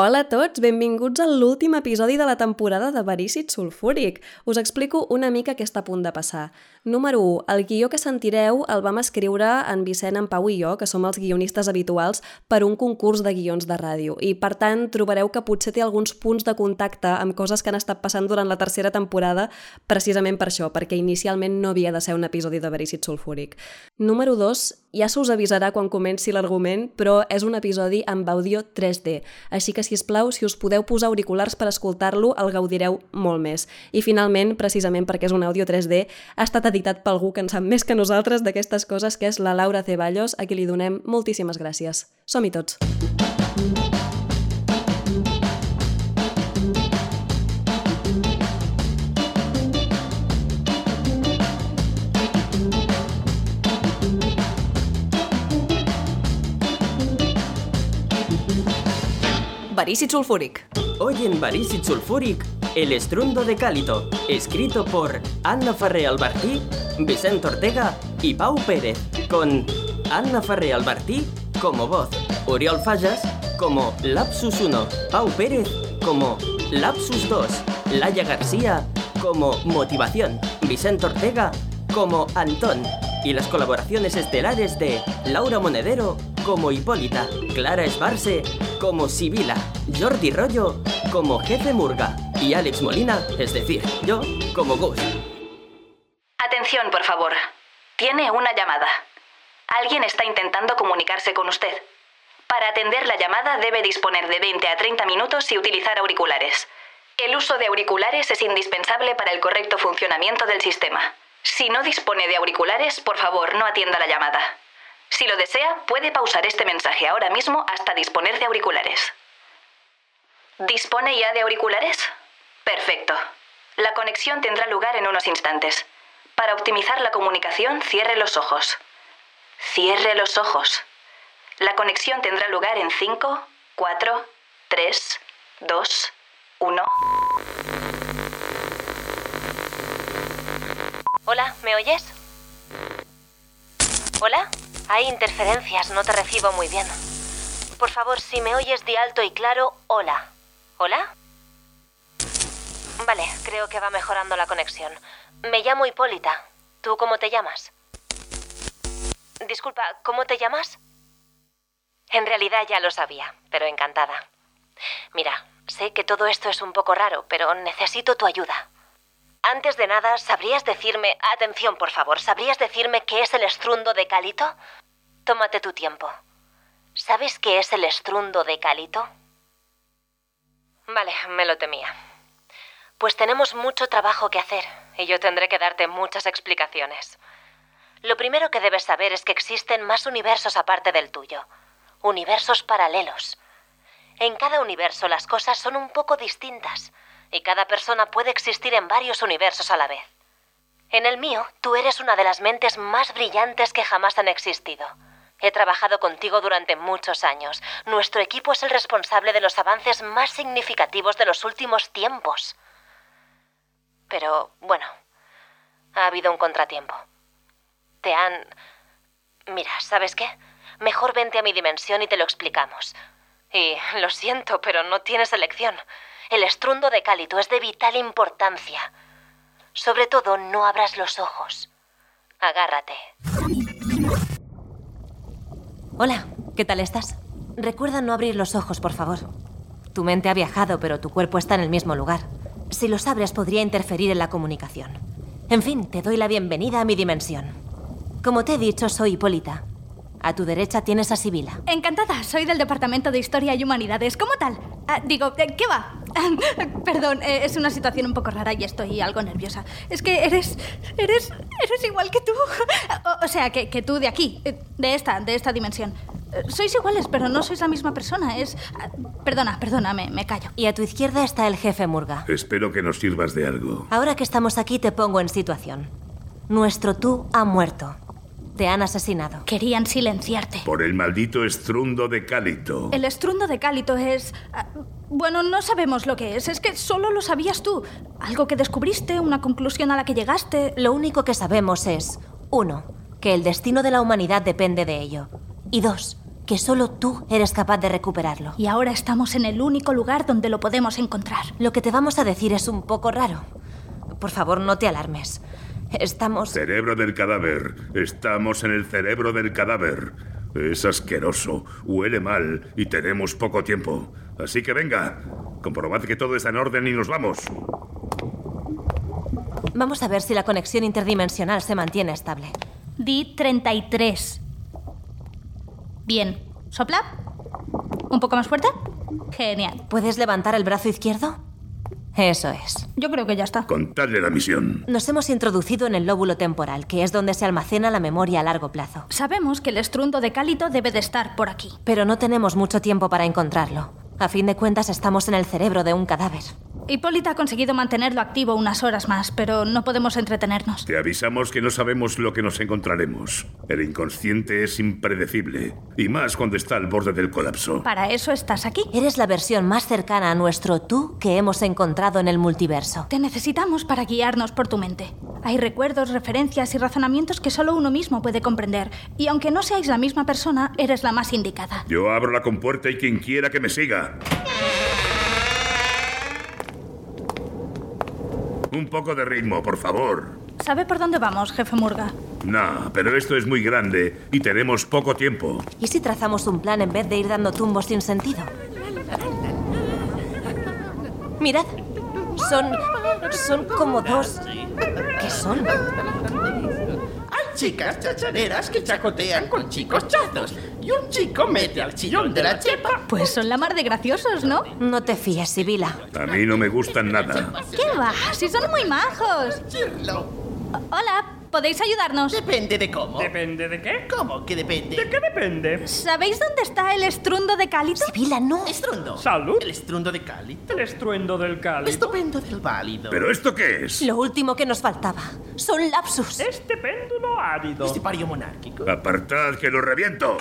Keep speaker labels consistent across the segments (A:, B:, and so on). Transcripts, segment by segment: A: Hola a tots, benvinguts a l'últim episodi de la temporada de Verícit Sulfúric. Us explico una mica què està a punt de passar. Número 1. El guió que sentireu el vam escriure en Vicent, en Pau i jo, que som els guionistes habituals, per un concurs de guions de ràdio. I, per tant, trobareu que potser té alguns punts de contacte amb coses que han estat passant durant la tercera temporada precisament per això, perquè inicialment no havia de ser un episodi de Verícit Sulfúric. Número 2. Ja se us avisarà quan comenci l'argument, però és un episodi amb àudio 3D, així que si us plau, si us podeu posar auriculars per escoltar-lo, el gaudireu molt més. I finalment, precisament perquè és un àudio 3D, ha estat editat per algú que en sap més que nosaltres d'aquestes coses, que és la Laura Ceballos, a qui li donem moltíssimes gràcies. Som-hi tots! Verícit sulfúric.
B: Hoy en Barísit Sulfuric, El estruendo de Cálito, escrito por Anna Ferrer Albertí, Vicente Ortega y Pau Pérez, con Anna Ferrer Albertí como voz, Oriol Fallas como Lapsus 1, Pau Pérez como Lapsus 2, Laia García como Motivación, Vicente Ortega como Antón y las colaboraciones estelares de Laura Monedero como Hipólita, Clara Esbarce como Sibila, Jordi Rollo como Jefe Murga y Alex Molina, es decir, yo como Gus.
C: Atención, por favor. Tiene una llamada. Alguien está intentando comunicarse con usted. Para atender la llamada debe disponer de 20 a 30 minutos y utilizar auriculares. El uso de auriculares es indispensable para el correcto funcionamiento del sistema. Si no dispone de auriculares, por favor, no atienda la llamada. Si lo desea, puede pausar este mensaje ahora mismo hasta disponer de auriculares. ¿Dispone ya de auriculares? Perfecto. La conexión tendrá lugar en unos instantes. Para optimizar la comunicación, cierre los ojos. Cierre los ojos. La conexión tendrá lugar en 5, 4, 3, 2, 1.
D: Hola, ¿me oyes? Hola, hay interferencias, no te recibo muy bien. Por favor, si me oyes de alto y claro, hola. ¿Hola? Vale, creo que va mejorando la conexión. Me llamo Hipólita. ¿Tú cómo te llamas? Disculpa, ¿cómo te llamas? En realidad ya lo sabía, pero encantada. Mira, sé que todo esto es un poco raro, pero necesito tu ayuda. Antes de nada, ¿sabrías decirme... Atención, por favor, ¿sabrías decirme qué es el estrundo de Calito? Tómate tu tiempo. ¿Sabes qué es el estrundo de Calito? Vale, me lo temía. Pues tenemos mucho trabajo que hacer y yo tendré que darte muchas explicaciones. Lo primero que debes saber es que existen más universos aparte del tuyo, universos paralelos. En cada universo las cosas son un poco distintas y cada persona puede existir en varios universos a la vez. En el mío, tú eres una de las mentes más brillantes que jamás han existido. He trabajado contigo durante muchos años. Nuestro equipo es el responsable de los avances más significativos de los últimos tiempos. Pero, bueno, ha habido un contratiempo. Te han... Mira, ¿sabes qué? Mejor vente a mi dimensión y te lo explicamos. Y lo siento, pero no tienes elección. El estruendo de Cálito es de vital importancia. Sobre todo, no abras los ojos. Agárrate. Hola, ¿qué tal estás? Recuerda no abrir los ojos, por favor. Tu mente ha viajado, pero tu cuerpo está en el mismo lugar. Si los abres, podría interferir en la comunicación. En fin, te doy la bienvenida a mi dimensión. Como te he dicho, soy Hipólita. A tu derecha tienes a Sibila.
E: Encantada, soy del Departamento de Historia y Humanidades. ¿Cómo tal? Ah, digo, eh, ¿qué va? Perdón, eh, es una situación un poco rara y estoy algo nerviosa. Es que eres. eres. eres igual que tú. O, o sea, que, que tú de aquí, eh, de esta, de esta dimensión. Eh, Sois iguales, pero no sois la misma persona. Es. ah, Perdona, perdona, me, me callo.
D: Y a tu izquierda está el jefe Murga.
F: Espero que nos sirvas de algo.
D: Ahora que estamos aquí te pongo en situación. Nuestro tú ha muerto. Te han asesinado.
E: Querían silenciarte.
F: Por el maldito estrundo de Cálito.
E: El estruendo de Cálito es... ah, Bueno, no sabemos lo que es, es que solo lo sabías tú. Algo que descubriste, una conclusión a la que llegaste.
D: Eh, Lo único que sabemos es, uno, que el destino de la humanidad depende de ello. Y dos, que solo tú eres capaz de recuperarlo.
E: Y ahora estamos en el único lugar donde lo podemos encontrar.
D: Lo que te vamos a decir es un poco raro. Por favor, no te alarmes. Estamos...
F: Cerebro del cadáver. Estamos en el cerebro del cadáver. Es asqueroso, huele mal y tenemos poco tiempo. Así que venga, comprobad que todo está en orden y nos vamos.
D: Vamos a ver si la conexión interdimensional se mantiene estable.
E: Di 33. Bien. ¿Sopla? ¿Un poco más fuerte? Genial.
D: ¿Puedes levantar el brazo izquierdo? Eso es.
E: Yo creo que ya está.
F: Contadle la misión.
D: Nos hemos introducido en el lóbulo temporal, que es donde se almacena la memoria a largo plazo.
E: Sabemos que el estruendo de Cálito debe de estar por aquí.
D: Pero no tenemos mucho tiempo para encontrarlo. A fin de cuentas, estamos en el cerebro de un cadáver.
E: Hipólita ha conseguido mantenerlo activo unas horas más, pero no podemos entretenernos.
F: Te avisamos que no sabemos lo que nos encontraremos. El inconsciente es impredecible, y más cuando está al borde del colapso.
E: Para eso estás aquí.
D: Eres la versión más cercana a nuestro tú que hemos encontrado en el multiverso.
E: Te necesitamos para guiarnos por tu mente. Hay recuerdos, referencias y razonamientos que solo uno mismo puede comprender, y aunque no seáis la misma persona, eres la más indicada.
F: Yo abro la compuerta y quien quiera que me siga. Un poco de ritmo, por favor.
E: ¿Sabe por dónde vamos, jefe Murga?
F: No, pero esto es muy grande y tenemos poco tiempo.
D: ¿Y si trazamos un plan en vez de ir dando tumbos sin sentido? Mirad, son. son como dos. ¿Qué son?
G: Hay chicas chachareras que chacotean con chicos chazos y un chico mete al chillón de la chepa.
E: Pues son la mar de graciosos, ¿no?
D: No te fíes, Sibila.
F: A mí no me gustan nada.
E: ¿Qué va? Si son muy majos.
G: Chirlo.
E: O- Hola, ¿podéis ayudarnos?
G: Depende de cómo.
H: ¿Depende de qué?
G: ¿Cómo que depende?
H: ¿De qué depende?
E: ¿Sabéis dónde está el estruendo de Cálito?
D: Sibila, no.
G: Estruendo.
H: Salud.
G: El estruendo de Cali.
H: El estruendo del cáliz.
G: Estupendo del válido.
F: ¿Pero esto qué es?
D: Lo último que nos faltaba. Son lapsus.
H: Este péndulo árido.
G: Este pario monárquico.
F: Apartad que lo reviento.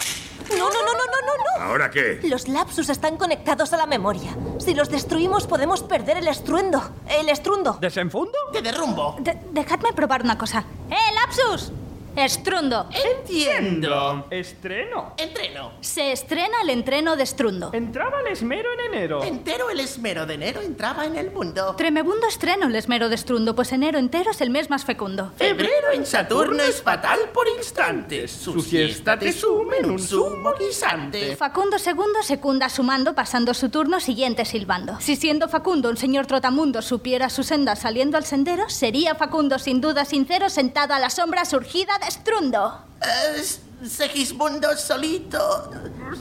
D: No, no, no, no, no, no, no.
F: ¿Ahora qué?
D: Los lapsus están conectados a la memoria. Si los destruimos podemos perder el estruendo. El estruendo.
H: ¿Desenfundo?
G: Te derrumbo.
E: De- dejadme probar una cosa. ¡Eh, lapsus! Estrundo.
G: Entiendo.
H: Estreno.
G: Entreno.
E: Se estrena el entreno de estrundo.
H: Entraba el esmero en enero.
G: Entero el esmero de enero entraba en el mundo.
E: Tremebundo estreno el esmero de estrundo, pues enero entero es el mes más fecundo.
G: Febrero en Saturno es fatal por instantes. Su siesta te sume en un zumo guisante.
E: Facundo segundo secunda sumando, pasando su turno siguiente silbando. Si siendo Facundo un señor trotamundo supiera su senda saliendo al sendero, sería Facundo sin duda sincero sentado a la sombra surgida de estrundo.
G: Eh, Segismundo solito.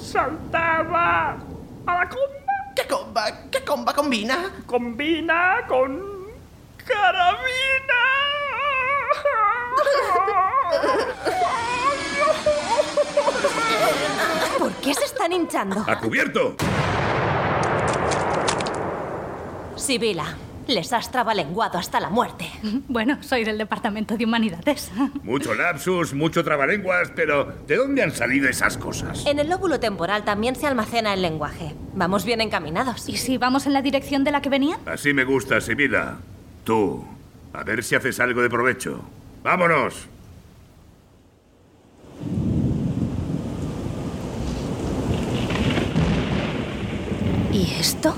H: Saltaba a la comba.
G: ¿Qué comba? ¿Qué comba combina?
H: Combina con carabina.
D: ¿Por qué se están hinchando?
F: ¡A cubierto!
D: Sibila, les has trabalenguado hasta la muerte.
E: Bueno, soy del Departamento de Humanidades.
F: Mucho lapsus, mucho trabalenguas, pero ¿de dónde han salido esas cosas?
D: En el lóbulo temporal también se almacena el lenguaje. Vamos bien encaminados.
E: ¿Y si vamos en la dirección de la que venían?
F: Así me gusta, Sibila. Tú, a ver si haces algo de provecho. ¡Vámonos!
E: ¿Y esto?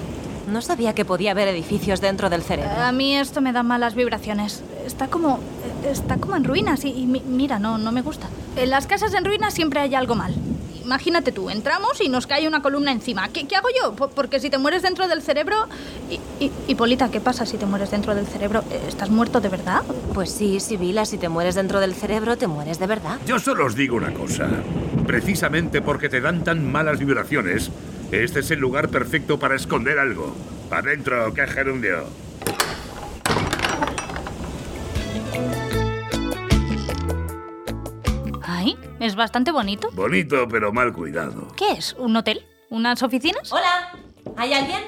D: No sabía que podía haber edificios dentro del cerebro.
E: A mí esto me da malas vibraciones. Está como. está como en ruinas y, y mi- mira, no, no me gusta. En las casas en ruinas siempre hay algo mal. Imagínate tú, entramos y nos cae una columna encima. ¿Qué, qué hago yo? Po- Porque si te mueres dentro del cerebro. Y, y- Hipólita, ¿qué pasa si te mueres dentro del cerebro? Eh, ¿Estás muerto de verdad?
D: Pues sí, Sibila, si te mueres dentro del cerebro, te mueres de verdad.
F: Yo solo os digo una cosa. Precisamente porque te dan tan malas vibraciones, este es el lugar perfecto para esconder algo. ¡Adentro, qué gerundio!
E: Ay, es bastante bonito.
F: Bonito, pero mal cuidado.
E: ¿Qué es? ¿Un hotel? ¿Unas oficinas?
D: Hola, ¿hay alguien?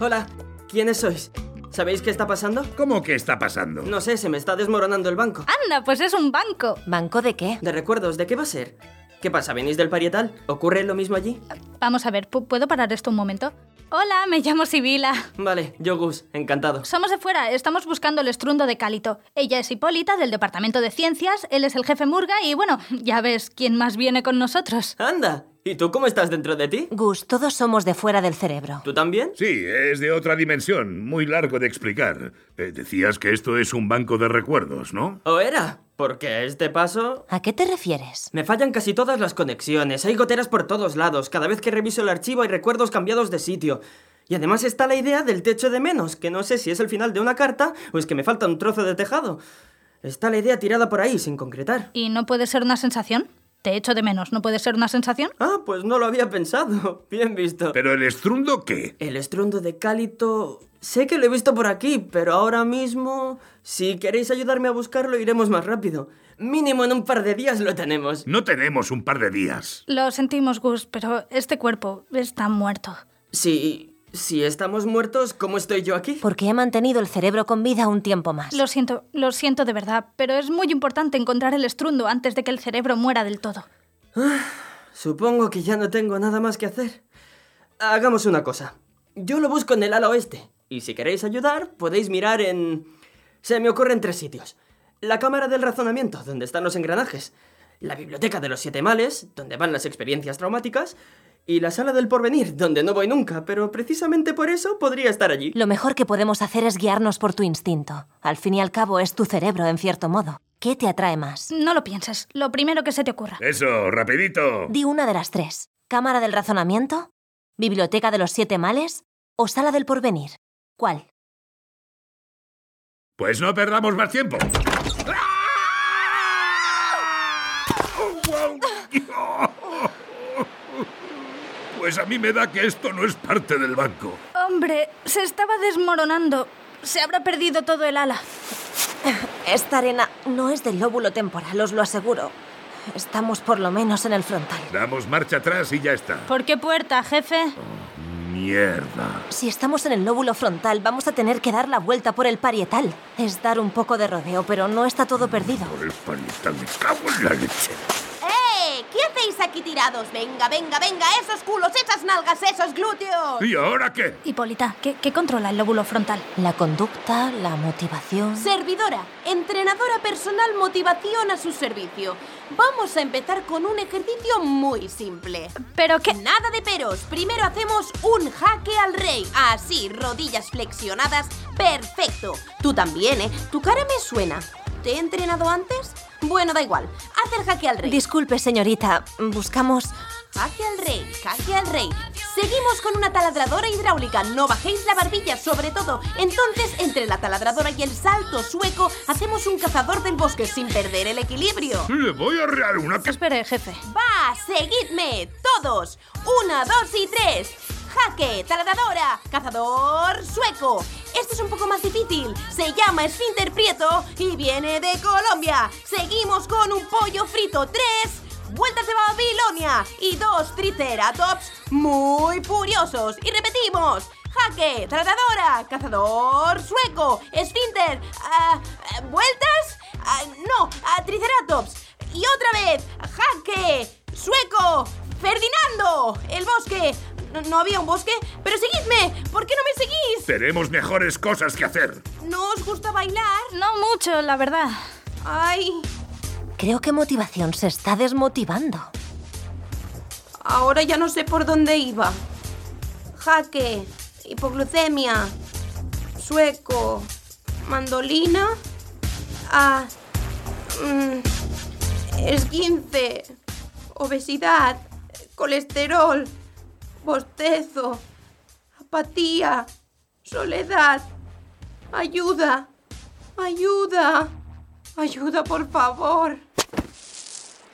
B: Hola, ¿quiénes sois? ¿Sabéis qué está pasando?
F: ¿Cómo que está pasando?
B: No sé, se me está desmoronando el banco.
E: Anda, pues es un banco.
D: ¿Banco de qué?
B: De recuerdos, ¿de qué va a ser? ¿Qué pasa? ¿Venís del parietal? ¿Ocurre lo mismo allí?
E: Vamos a ver, ¿pu- ¿puedo parar esto un momento? Hola, me llamo Sibila.
B: Vale, yo Gus, encantado.
E: Somos de fuera, estamos buscando el estrundo de Cálito. Ella es Hipólita, del Departamento de Ciencias, él es el jefe Murga y bueno, ya ves quién más viene con nosotros.
B: Anda, ¿y tú cómo estás dentro de ti?
D: Gus, todos somos de fuera del cerebro.
B: ¿Tú también?
F: Sí, es de otra dimensión, muy largo de explicar. Eh, decías que esto es un banco de recuerdos, ¿no?
B: ¿O era? Porque a este paso...
D: ¿A qué te refieres?
B: Me fallan casi todas las conexiones, hay goteras por todos lados, cada vez que reviso el archivo hay recuerdos cambiados de sitio. Y además está la idea del techo de menos, que no sé si es el final de una carta o es que me falta un trozo de tejado. Está la idea tirada por ahí, sin concretar.
E: ¿Y no puede ser una sensación? Te echo de menos, ¿no puede ser una sensación?
B: Ah, pues no lo había pensado. Bien visto.
F: ¿Pero el estrundo qué?
B: El estruendo de Cálito... Sé que lo he visto por aquí, pero ahora mismo... Si queréis ayudarme a buscarlo, iremos más rápido. Mínimo en un par de días lo tenemos.
F: No tenemos un par de días.
E: Lo sentimos, Gus, pero este cuerpo está muerto.
B: Si... Si estamos muertos, ¿cómo estoy yo aquí?
D: Porque he mantenido el cerebro con vida un tiempo más.
E: Lo siento, lo siento de verdad, pero es muy importante encontrar el estrundo antes de que el cerebro muera del todo.
B: Supongo que ya no tengo nada más que hacer. Hagamos una cosa. Yo lo busco en el ala oeste. Y si queréis ayudar, podéis mirar en... Se me ocurren tres sitios. La Cámara del Razonamiento, donde están los engranajes. La Biblioteca de los Siete Males, donde van las experiencias traumáticas. Y la Sala del Porvenir, donde no voy nunca, pero precisamente por eso podría estar allí.
D: Lo mejor que podemos hacer es guiarnos por tu instinto. Al fin y al cabo es tu cerebro, en cierto modo. ¿Qué te atrae más?
E: No lo pienses, lo primero que se te ocurra.
F: Eso, rapidito.
D: Di una de las tres. ¿Cámara del razonamiento? ¿Biblioteca de los siete males? ¿O sala del porvenir? ¿Cuál?
F: Pues no perdamos más tiempo. Pues a mí me da que esto no es parte del banco.
E: Hombre, se estaba desmoronando. Se habrá perdido todo el ala.
D: Esta arena no es del lóbulo temporal, os lo aseguro. Estamos por lo menos en el frontal.
F: Damos marcha atrás y ya está.
E: ¿Por qué puerta, jefe?
F: Mierda.
D: Si estamos en el lóbulo frontal, vamos a tener que dar la vuelta por el parietal. Es dar un poco de rodeo, pero no está todo perdido.
F: Por el parietal me cago en la leche.
I: ¡Eh! ¿Qué hacéis aquí tirados? Venga, venga, venga, esos culos, esas nalgas, esos glúteos.
F: ¿Y ahora qué?
E: Hipólita, ¿qué, qué controla el lóbulo frontal?
D: La conducta, la motivación.
I: Servidora, entrenadora personal, motivación a su servicio. Vamos a empezar con un ejercicio muy simple.
E: ¿Pero qué?
I: Nada de peros. Primero hacemos un jaque al rey. Así, rodillas flexionadas. Perfecto. Tú también, ¿eh? Tu cara me suena. ¿Te he entrenado antes? Bueno, da igual. Haz el jaque al rey.
D: Disculpe, señorita. Buscamos.
I: Jaque al rey, jaque al rey. Seguimos con una taladradora hidráulica. No bajéis la barbilla, sobre todo. Entonces, entre la taladradora y el salto sueco, hacemos un cazador del bosque sin perder el equilibrio.
F: Le voy a rear una que...
E: Espere, jefe.
I: ¡Va! ¡Seguidme! ¡Todos! ¡Una, dos y tres! ¡Jaque! ¡Taladradora! ¡Cazador sueco! Este es un poco más difícil. Se llama Esfínter Prieto y viene de Colombia. Seguimos con un pollo frito. ¡Tres! Vueltas de Babilonia y dos triceratops muy furiosos. Y repetimos. Jaque, tratadora, cazador sueco, esfínter, ah, ah, vueltas, ah, no, ah, triceratops. Y otra vez, jaque, sueco, Ferdinando, el bosque. No, no había un bosque, pero seguidme, ¿por qué no me seguís?
F: Tenemos mejores cosas que hacer.
I: ¿No os gusta bailar?
E: No mucho, la verdad.
I: Ay,
D: Creo que motivación se está desmotivando.
I: ahora ya no sé por dónde iba. Jaque, hipoglucemia, sueco, mandolina, ah, mm, esguince, obesidad, colesterol, bostezo, apatía, soledad, ayuda, ayuda, ayuda por favor.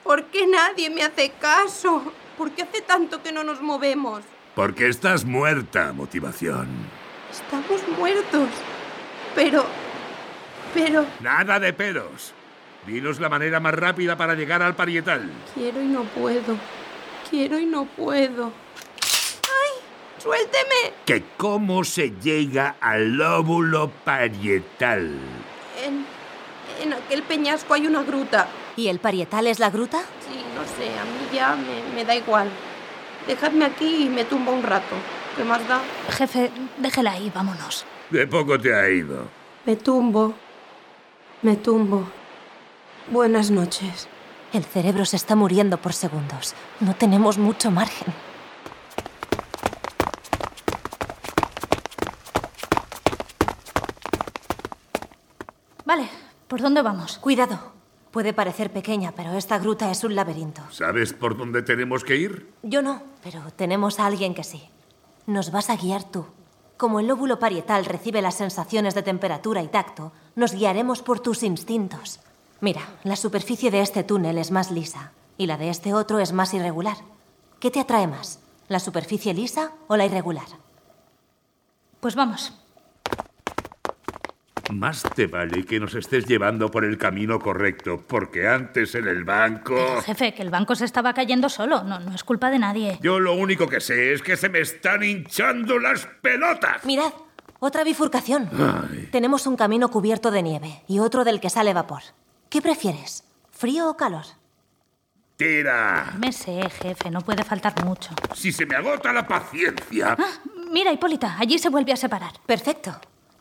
I: ¿Por qué nadie me hace caso? ¿Por qué hace tanto que no nos movemos?
F: Porque estás muerta, motivación.
I: Estamos muertos. Pero... Pero...
F: Nada de peros. Dinos la manera más rápida para llegar al parietal.
I: Quiero y no puedo. Quiero y no puedo. ¡Ay! ¡Suélteme!
F: Que cómo se llega al lóbulo parietal.
I: En, en aquel peñasco hay una gruta.
D: ¿Y el parietal es la gruta?
I: Sí, no sé, a mí ya me, me da igual. Dejadme aquí y me tumbo un rato.
J: ¿Qué más da?
E: Jefe, déjela ahí, vámonos.
F: De poco te ha ido.
J: Me tumbo. Me tumbo. Buenas noches.
D: El cerebro se está muriendo por segundos. No tenemos mucho margen.
E: Vale, ¿por dónde vamos?
D: Cuidado. Puede parecer pequeña, pero esta gruta es un laberinto.
F: ¿Sabes por dónde tenemos que ir?
D: Yo no, pero tenemos a alguien que sí. Nos vas a guiar tú. Como el lóbulo parietal recibe las sensaciones de temperatura y tacto, nos guiaremos por tus instintos. Mira, la superficie de este túnel es más lisa y la de este otro es más irregular. ¿Qué te atrae más? ¿La superficie lisa o la irregular?
E: Pues vamos.
F: Más te vale que nos estés llevando por el camino correcto, porque antes en el banco...
E: Jefe, que el banco se estaba cayendo solo. No, no es culpa de nadie.
F: Yo lo único que sé es que se me están hinchando las pelotas.
D: Mirad, otra bifurcación.
F: Ay.
D: Tenemos un camino cubierto de nieve y otro del que sale vapor. ¿Qué prefieres? ¿Frío o calor?
F: Tira.
E: Me sé, jefe, no puede faltar mucho.
F: Si se me agota la paciencia.
E: Ah, mira, Hipólita, allí se vuelve a separar.
D: Perfecto.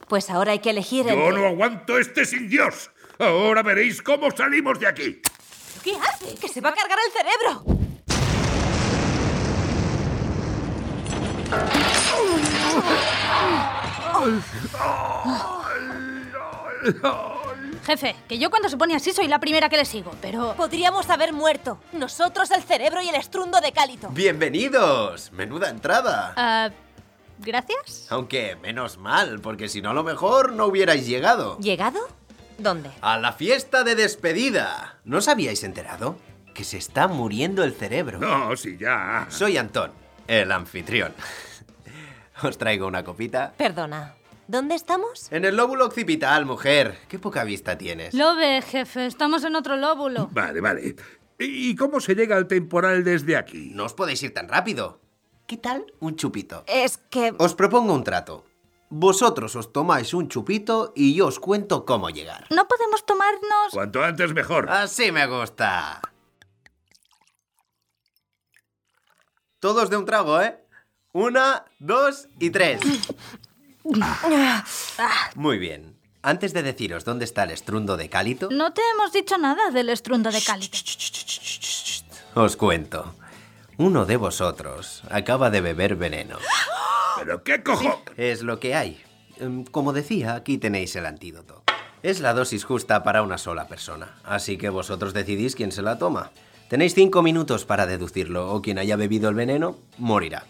D: Pues ahora hay que elegir
F: Yo
D: entre-
F: no aguanto este sin Dios. Ahora veréis cómo salimos de aquí.
D: ¿Qué hace? ¡Que se va a cargar el cerebro!
E: Jefe, que yo cuando se pone así soy la primera que le sigo, pero...
D: Podríamos haber muerto. Nosotros el cerebro y el estrundo de cálito.
K: ¡Bienvenidos! ¡Menuda entrada!
E: Ah, ¿Gracias?
K: Aunque menos mal, porque si no, a lo mejor no hubierais llegado.
D: ¿Llegado? ¿Dónde?
K: ¡A la fiesta de despedida! ¿No os habíais enterado? Que se está muriendo el cerebro.
F: No, si ya.
K: Soy Antón, el anfitrión. Os traigo una copita.
D: Perdona. ¿Dónde estamos?
K: En el lóbulo occipital, mujer. Qué poca vista tienes.
E: Lo ve, jefe, estamos en otro lóbulo.
F: Vale, vale. ¿Y y cómo se llega al temporal desde aquí?
K: No os podéis ir tan rápido. ¿Qué tal un chupito?
D: Es que...
K: Os propongo un trato. Vosotros os tomáis un chupito y yo os cuento cómo llegar.
E: No podemos tomarnos...
F: Cuanto antes mejor.
K: Así me gusta. Todos de un trago, ¿eh? Una, dos y tres.
E: Ah,
K: Muy bien. Antes de deciros dónde está el estrundo de cálito,
E: No te hemos dicho nada del estrundo de cálito.
K: os cuento. Uno de vosotros acaba de beber veneno.
F: ¿Pero qué cojo?
K: Es lo que hay. Em, Como decía, aquí tenéis el antídoto. Es la dosis justa para una sola persona, así que vosotros decidís quién se la toma. Tenéis cinco minutos para deducirlo, o quien haya bebido el veneno morirá.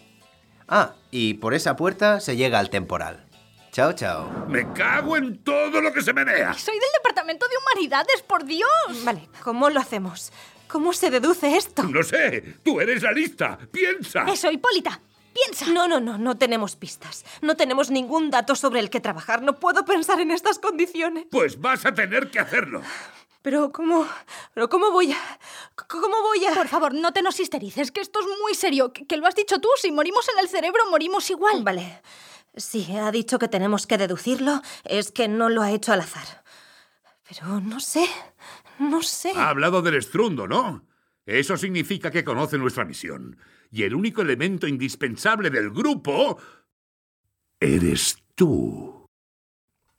K: Ah, y por esa puerta se llega al temporal. Chao, chao.
F: Me cago en todo lo que se menea.
E: Soy del Departamento de Humanidades, por Dios.
D: Vale, ¿cómo lo hacemos? ¿Cómo se deduce esto?
F: No sé, tú eres la lista. Piensa.
E: Eso, Hipólita, piensa.
D: No, no, no, no tenemos pistas. No tenemos ningún dato sobre el que trabajar. No puedo pensar en estas condiciones.
F: Pues vas a tener que hacerlo.
D: Pero ¿cómo? ¿Pero cómo voy a? c- ¿Cómo voy a?
E: Por favor, no te nos histerices, que esto es muy serio. Que, que lo has dicho tú, si morimos en el cerebro, morimos igual.
D: Vale. Si ha dicho que tenemos que deducirlo, es que no lo ha hecho al azar. Pero no sé, no sé.
F: Ha hablado del estrundo, ¿no? Eso significa que conoce nuestra misión. Y el único elemento indispensable del grupo... Eres tú.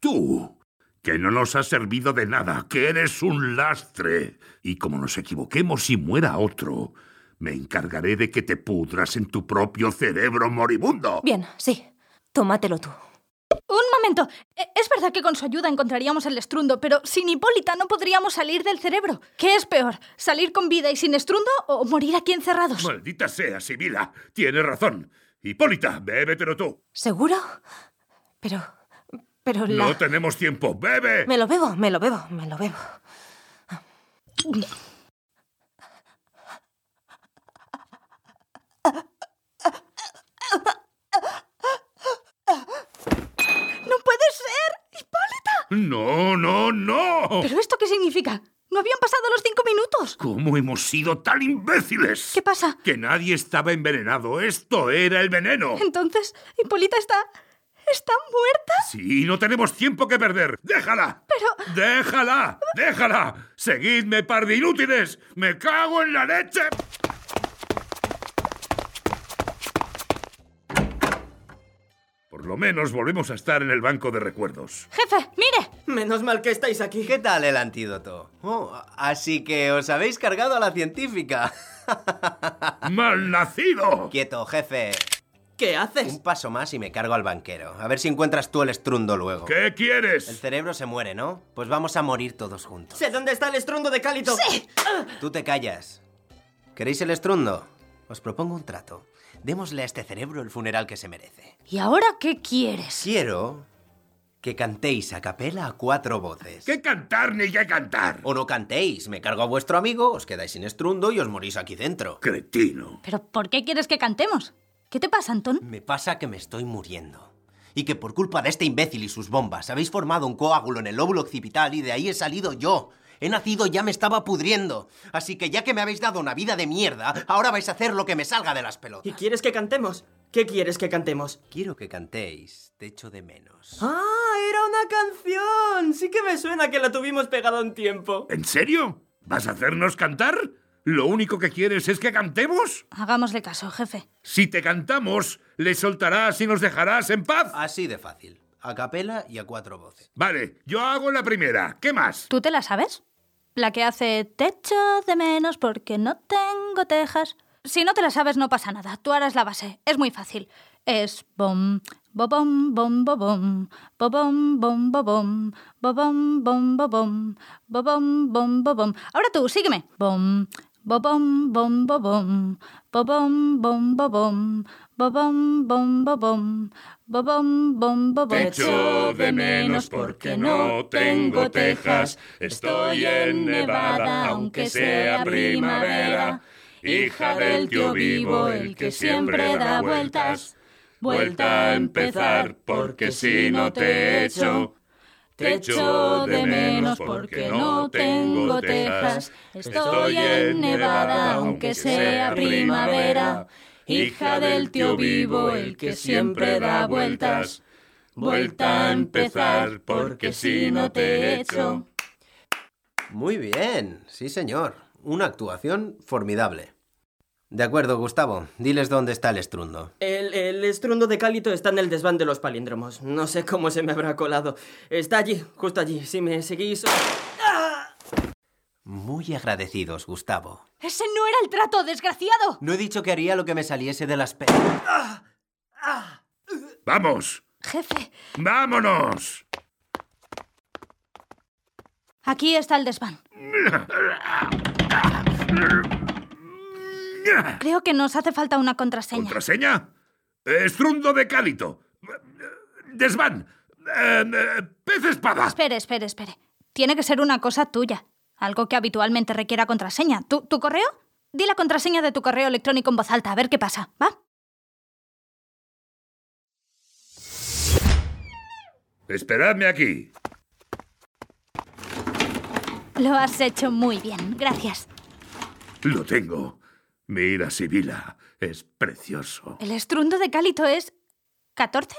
F: Tú. Que no nos has servido de nada, que eres un lastre. Y como nos equivoquemos y muera otro, me encargaré de que te pudras en tu propio cerebro moribundo.
D: Bien, sí. Tómatelo tú.
E: Un momento. E- Es verdad que con su ayuda encontraríamos el estrundo, pero sin Hipólita no podríamos salir del cerebro. ¿Qué es peor, salir con vida y sin estrundo o morir aquí encerrados?
F: Maldita sea, Sibila. Tienes razón. Hipólita, bébetelo tú.
D: ¿Seguro? Pero, pero la.
F: No tenemos tiempo. ¡Bebe!
D: Me lo bebo, me lo bebo, me lo bebo.
E: ¡No puede ser! ¡Hipólita!
F: No, no, no.
E: ¿Pero esto qué significa? ¿No habían pasado los cinco minutos?
F: ¿Cómo hemos sido tan imbéciles?
E: ¿Qué pasa?
F: Que nadie estaba envenenado. Esto era el veneno.
E: Entonces, Hipólita está... está muerta.
F: Sí, no tenemos tiempo que perder. ¡Déjala!
E: Pero-
F: ¡Déjala! ¡Déjala! ¡Seguidme, par de inútiles! ¡Me cago en la leche! lo menos volvemos a estar en el banco de recuerdos.
E: Jefe, mire.
B: Menos mal que estáis aquí.
K: ¿Qué tal el antídoto? Oh, así que os habéis cargado a la científica.
F: ¡Malnacido!
K: Quieto, jefe.
B: ¿Qué haces?
K: Un paso más y me cargo al banquero. A ver si encuentras tú el estrundo luego.
F: ¿Qué quieres?
K: El cerebro se muere, ¿no? Pues vamos a morir todos juntos.
B: Sé dónde está el estrundo de Cálito.
E: ¡Sí!
K: Tú te callas. ¿Queréis el estrundo? Os propongo un trato. Démosle a este cerebro el funeral que se merece.
E: ¿Y ahora qué quieres?
K: Quiero que cantéis a capela a cuatro voces.
F: ¿Qué cantar ni qué cantar?
K: O no cantéis, me cargo a vuestro amigo, os quedáis sin estrundo y os morís aquí dentro.
F: Cretino.
E: ¿Pero por qué quieres que cantemos? ¿Qué te pasa, Antón?
K: Me pasa que me estoy muriendo. Y que por culpa de este imbécil y sus bombas habéis formado un coágulo en el lóbulo occipital y de ahí he salido yo. He nacido, ya me estaba pudriendo. Así que ya que me habéis dado una vida de mierda, ahora vais a hacer lo que me salga de las
B: ¿Y
K: pelotas.
B: quieres que cantemos? ¿Qué quieres que cantemos?
K: Quiero que cantéis, te echo de menos.
B: ¡Ah! ¡Era una canción! Sí que me suena que la tuvimos pegada un tiempo.
F: ¿En serio? ¿Vas a hacernos cantar? ¿Lo único que quieres es que cantemos?
E: Hagámosle caso, jefe.
F: Si te cantamos, le soltarás y nos dejarás en paz.
K: Así de fácil. A capela y a cuatro voces.
F: Vale, yo hago la primera. ¿Qué más?
E: ¿Tú te la sabes? La que hace techo de menos porque no tengo tejas. Si no te la sabes, no pasa nada. Tú harás la base. Es muy fácil. Es bom, bobom, bom, bobom, bobom, bom, bobom, bobom, bom, bobom, bobom, bom, bobom. Ahora tú, sígueme. Bom, bobom, bom, bobom, bobom, bom, bobom, bobom, bom, bobom, bobom, bom, bobom.
F: Te echo de menos porque no tengo tejas. Estoy en Nevada, aunque sea primavera. Hija del tío vivo, el que siempre da vueltas. Vuelta a empezar, porque si no te echo, te echo de menos porque no tengo tejas. Estoy en Nevada, aunque sea primavera. Hija del tío vivo, el que siempre da vueltas. Vuelta a empezar, porque si no te echo.
K: Muy bien, sí señor. Una actuación formidable. De acuerdo, Gustavo. Diles dónde está el estrundo.
B: El, el estruendo de Cálito está en el desván de los palíndromos. No sé cómo se me habrá colado. Está allí, justo allí. Si me seguís...
E: ¡Ah!
K: Muy agradecidos, Gustavo.
E: Ese no era el trato, desgraciado.
K: No he dicho que haría lo que me saliese de las pe...
F: ¡Vamos!
E: Jefe,
F: ¡Vámonos!
E: aquí está el desván. Creo que nos hace falta una contraseña.
F: ¿Contraseña? Estrundo de cálito. Desván. Eh, eh, pez espada.
E: Espere, espere, espere. Tiene que ser una cosa tuya. Algo que habitualmente requiera contraseña. ¿Tu, tu correo? Di la contraseña de tu correo electrónico en voz alta, a ver qué pasa, ¿va?
F: Esperadme aquí.
E: Lo has hecho muy bien, gracias.
F: Lo tengo. Mira, Sibila. Es precioso.
E: El estruendo de Cálito es. ¿14? C-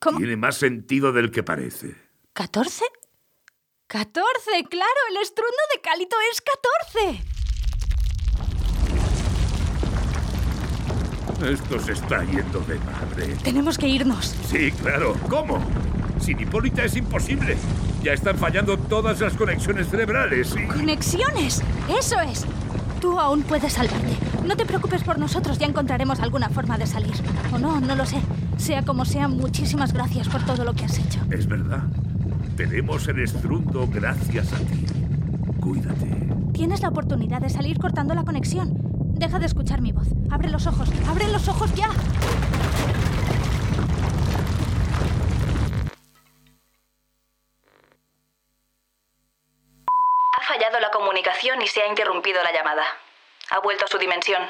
E: ¿Cómo?
F: Tiene más sentido del que parece.
E: ¿14? ¡14! ¡Claro! ¡El estruendo de Cálito es 14!
F: Esto se está yendo de madre.
E: Tenemos que irnos.
F: Sí, claro. ¿Cómo? Sin Hipólita es imposible. Ya están fallando todas las conexiones cerebrales. y-
E: ¡Conexiones! ¡Eso es! Tú aún puedes salvarte. No te preocupes por nosotros, ya encontraremos alguna forma de salir. O no, no lo sé. Sea como sea, muchísimas gracias por todo lo que has hecho.
F: Es verdad. Tenemos el estrundo gracias a ti. Cuídate.
E: Tienes la oportunidad de salir cortando la conexión. Deja de escuchar mi voz. Abre los ojos. Abre los ojos ya.
C: Ha fallado la comunicación y se ha interrumpido la llamada. Ha vuelto a su dimensión.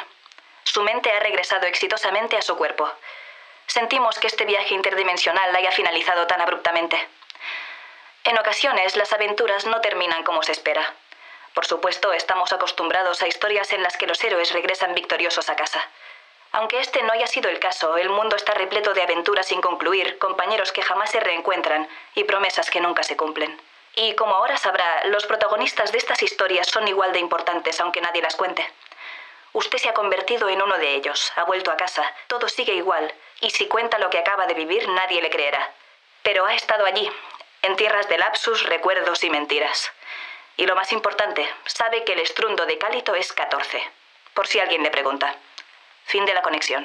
C: Su mente ha regresado exitosamente a su cuerpo. Sentimos que este viaje interdimensional haya finalizado tan abruptamente. En ocasiones las aventuras no terminan como se espera. Por supuesto, estamos acostumbrados a historias en las que los héroes regresan victoriosos a casa. Aunque este no haya sido el caso, el mundo está repleto de aventuras sin concluir, compañeros que jamás se reencuentran y promesas que nunca se cumplen. Y como ahora sabrá, los protagonistas de estas historias son igual de importantes aunque nadie las cuente. Usted se ha convertido en uno de ellos, ha vuelto a casa, todo sigue igual y si cuenta lo que acaba de vivir nadie le creerá. Pero ha estado allí, en tierras de lapsus, recuerdos y mentiras. Y lo más importante, sabe que el estruendo de Cálito es 14, por si alguien le pregunta. Fin de la conexión.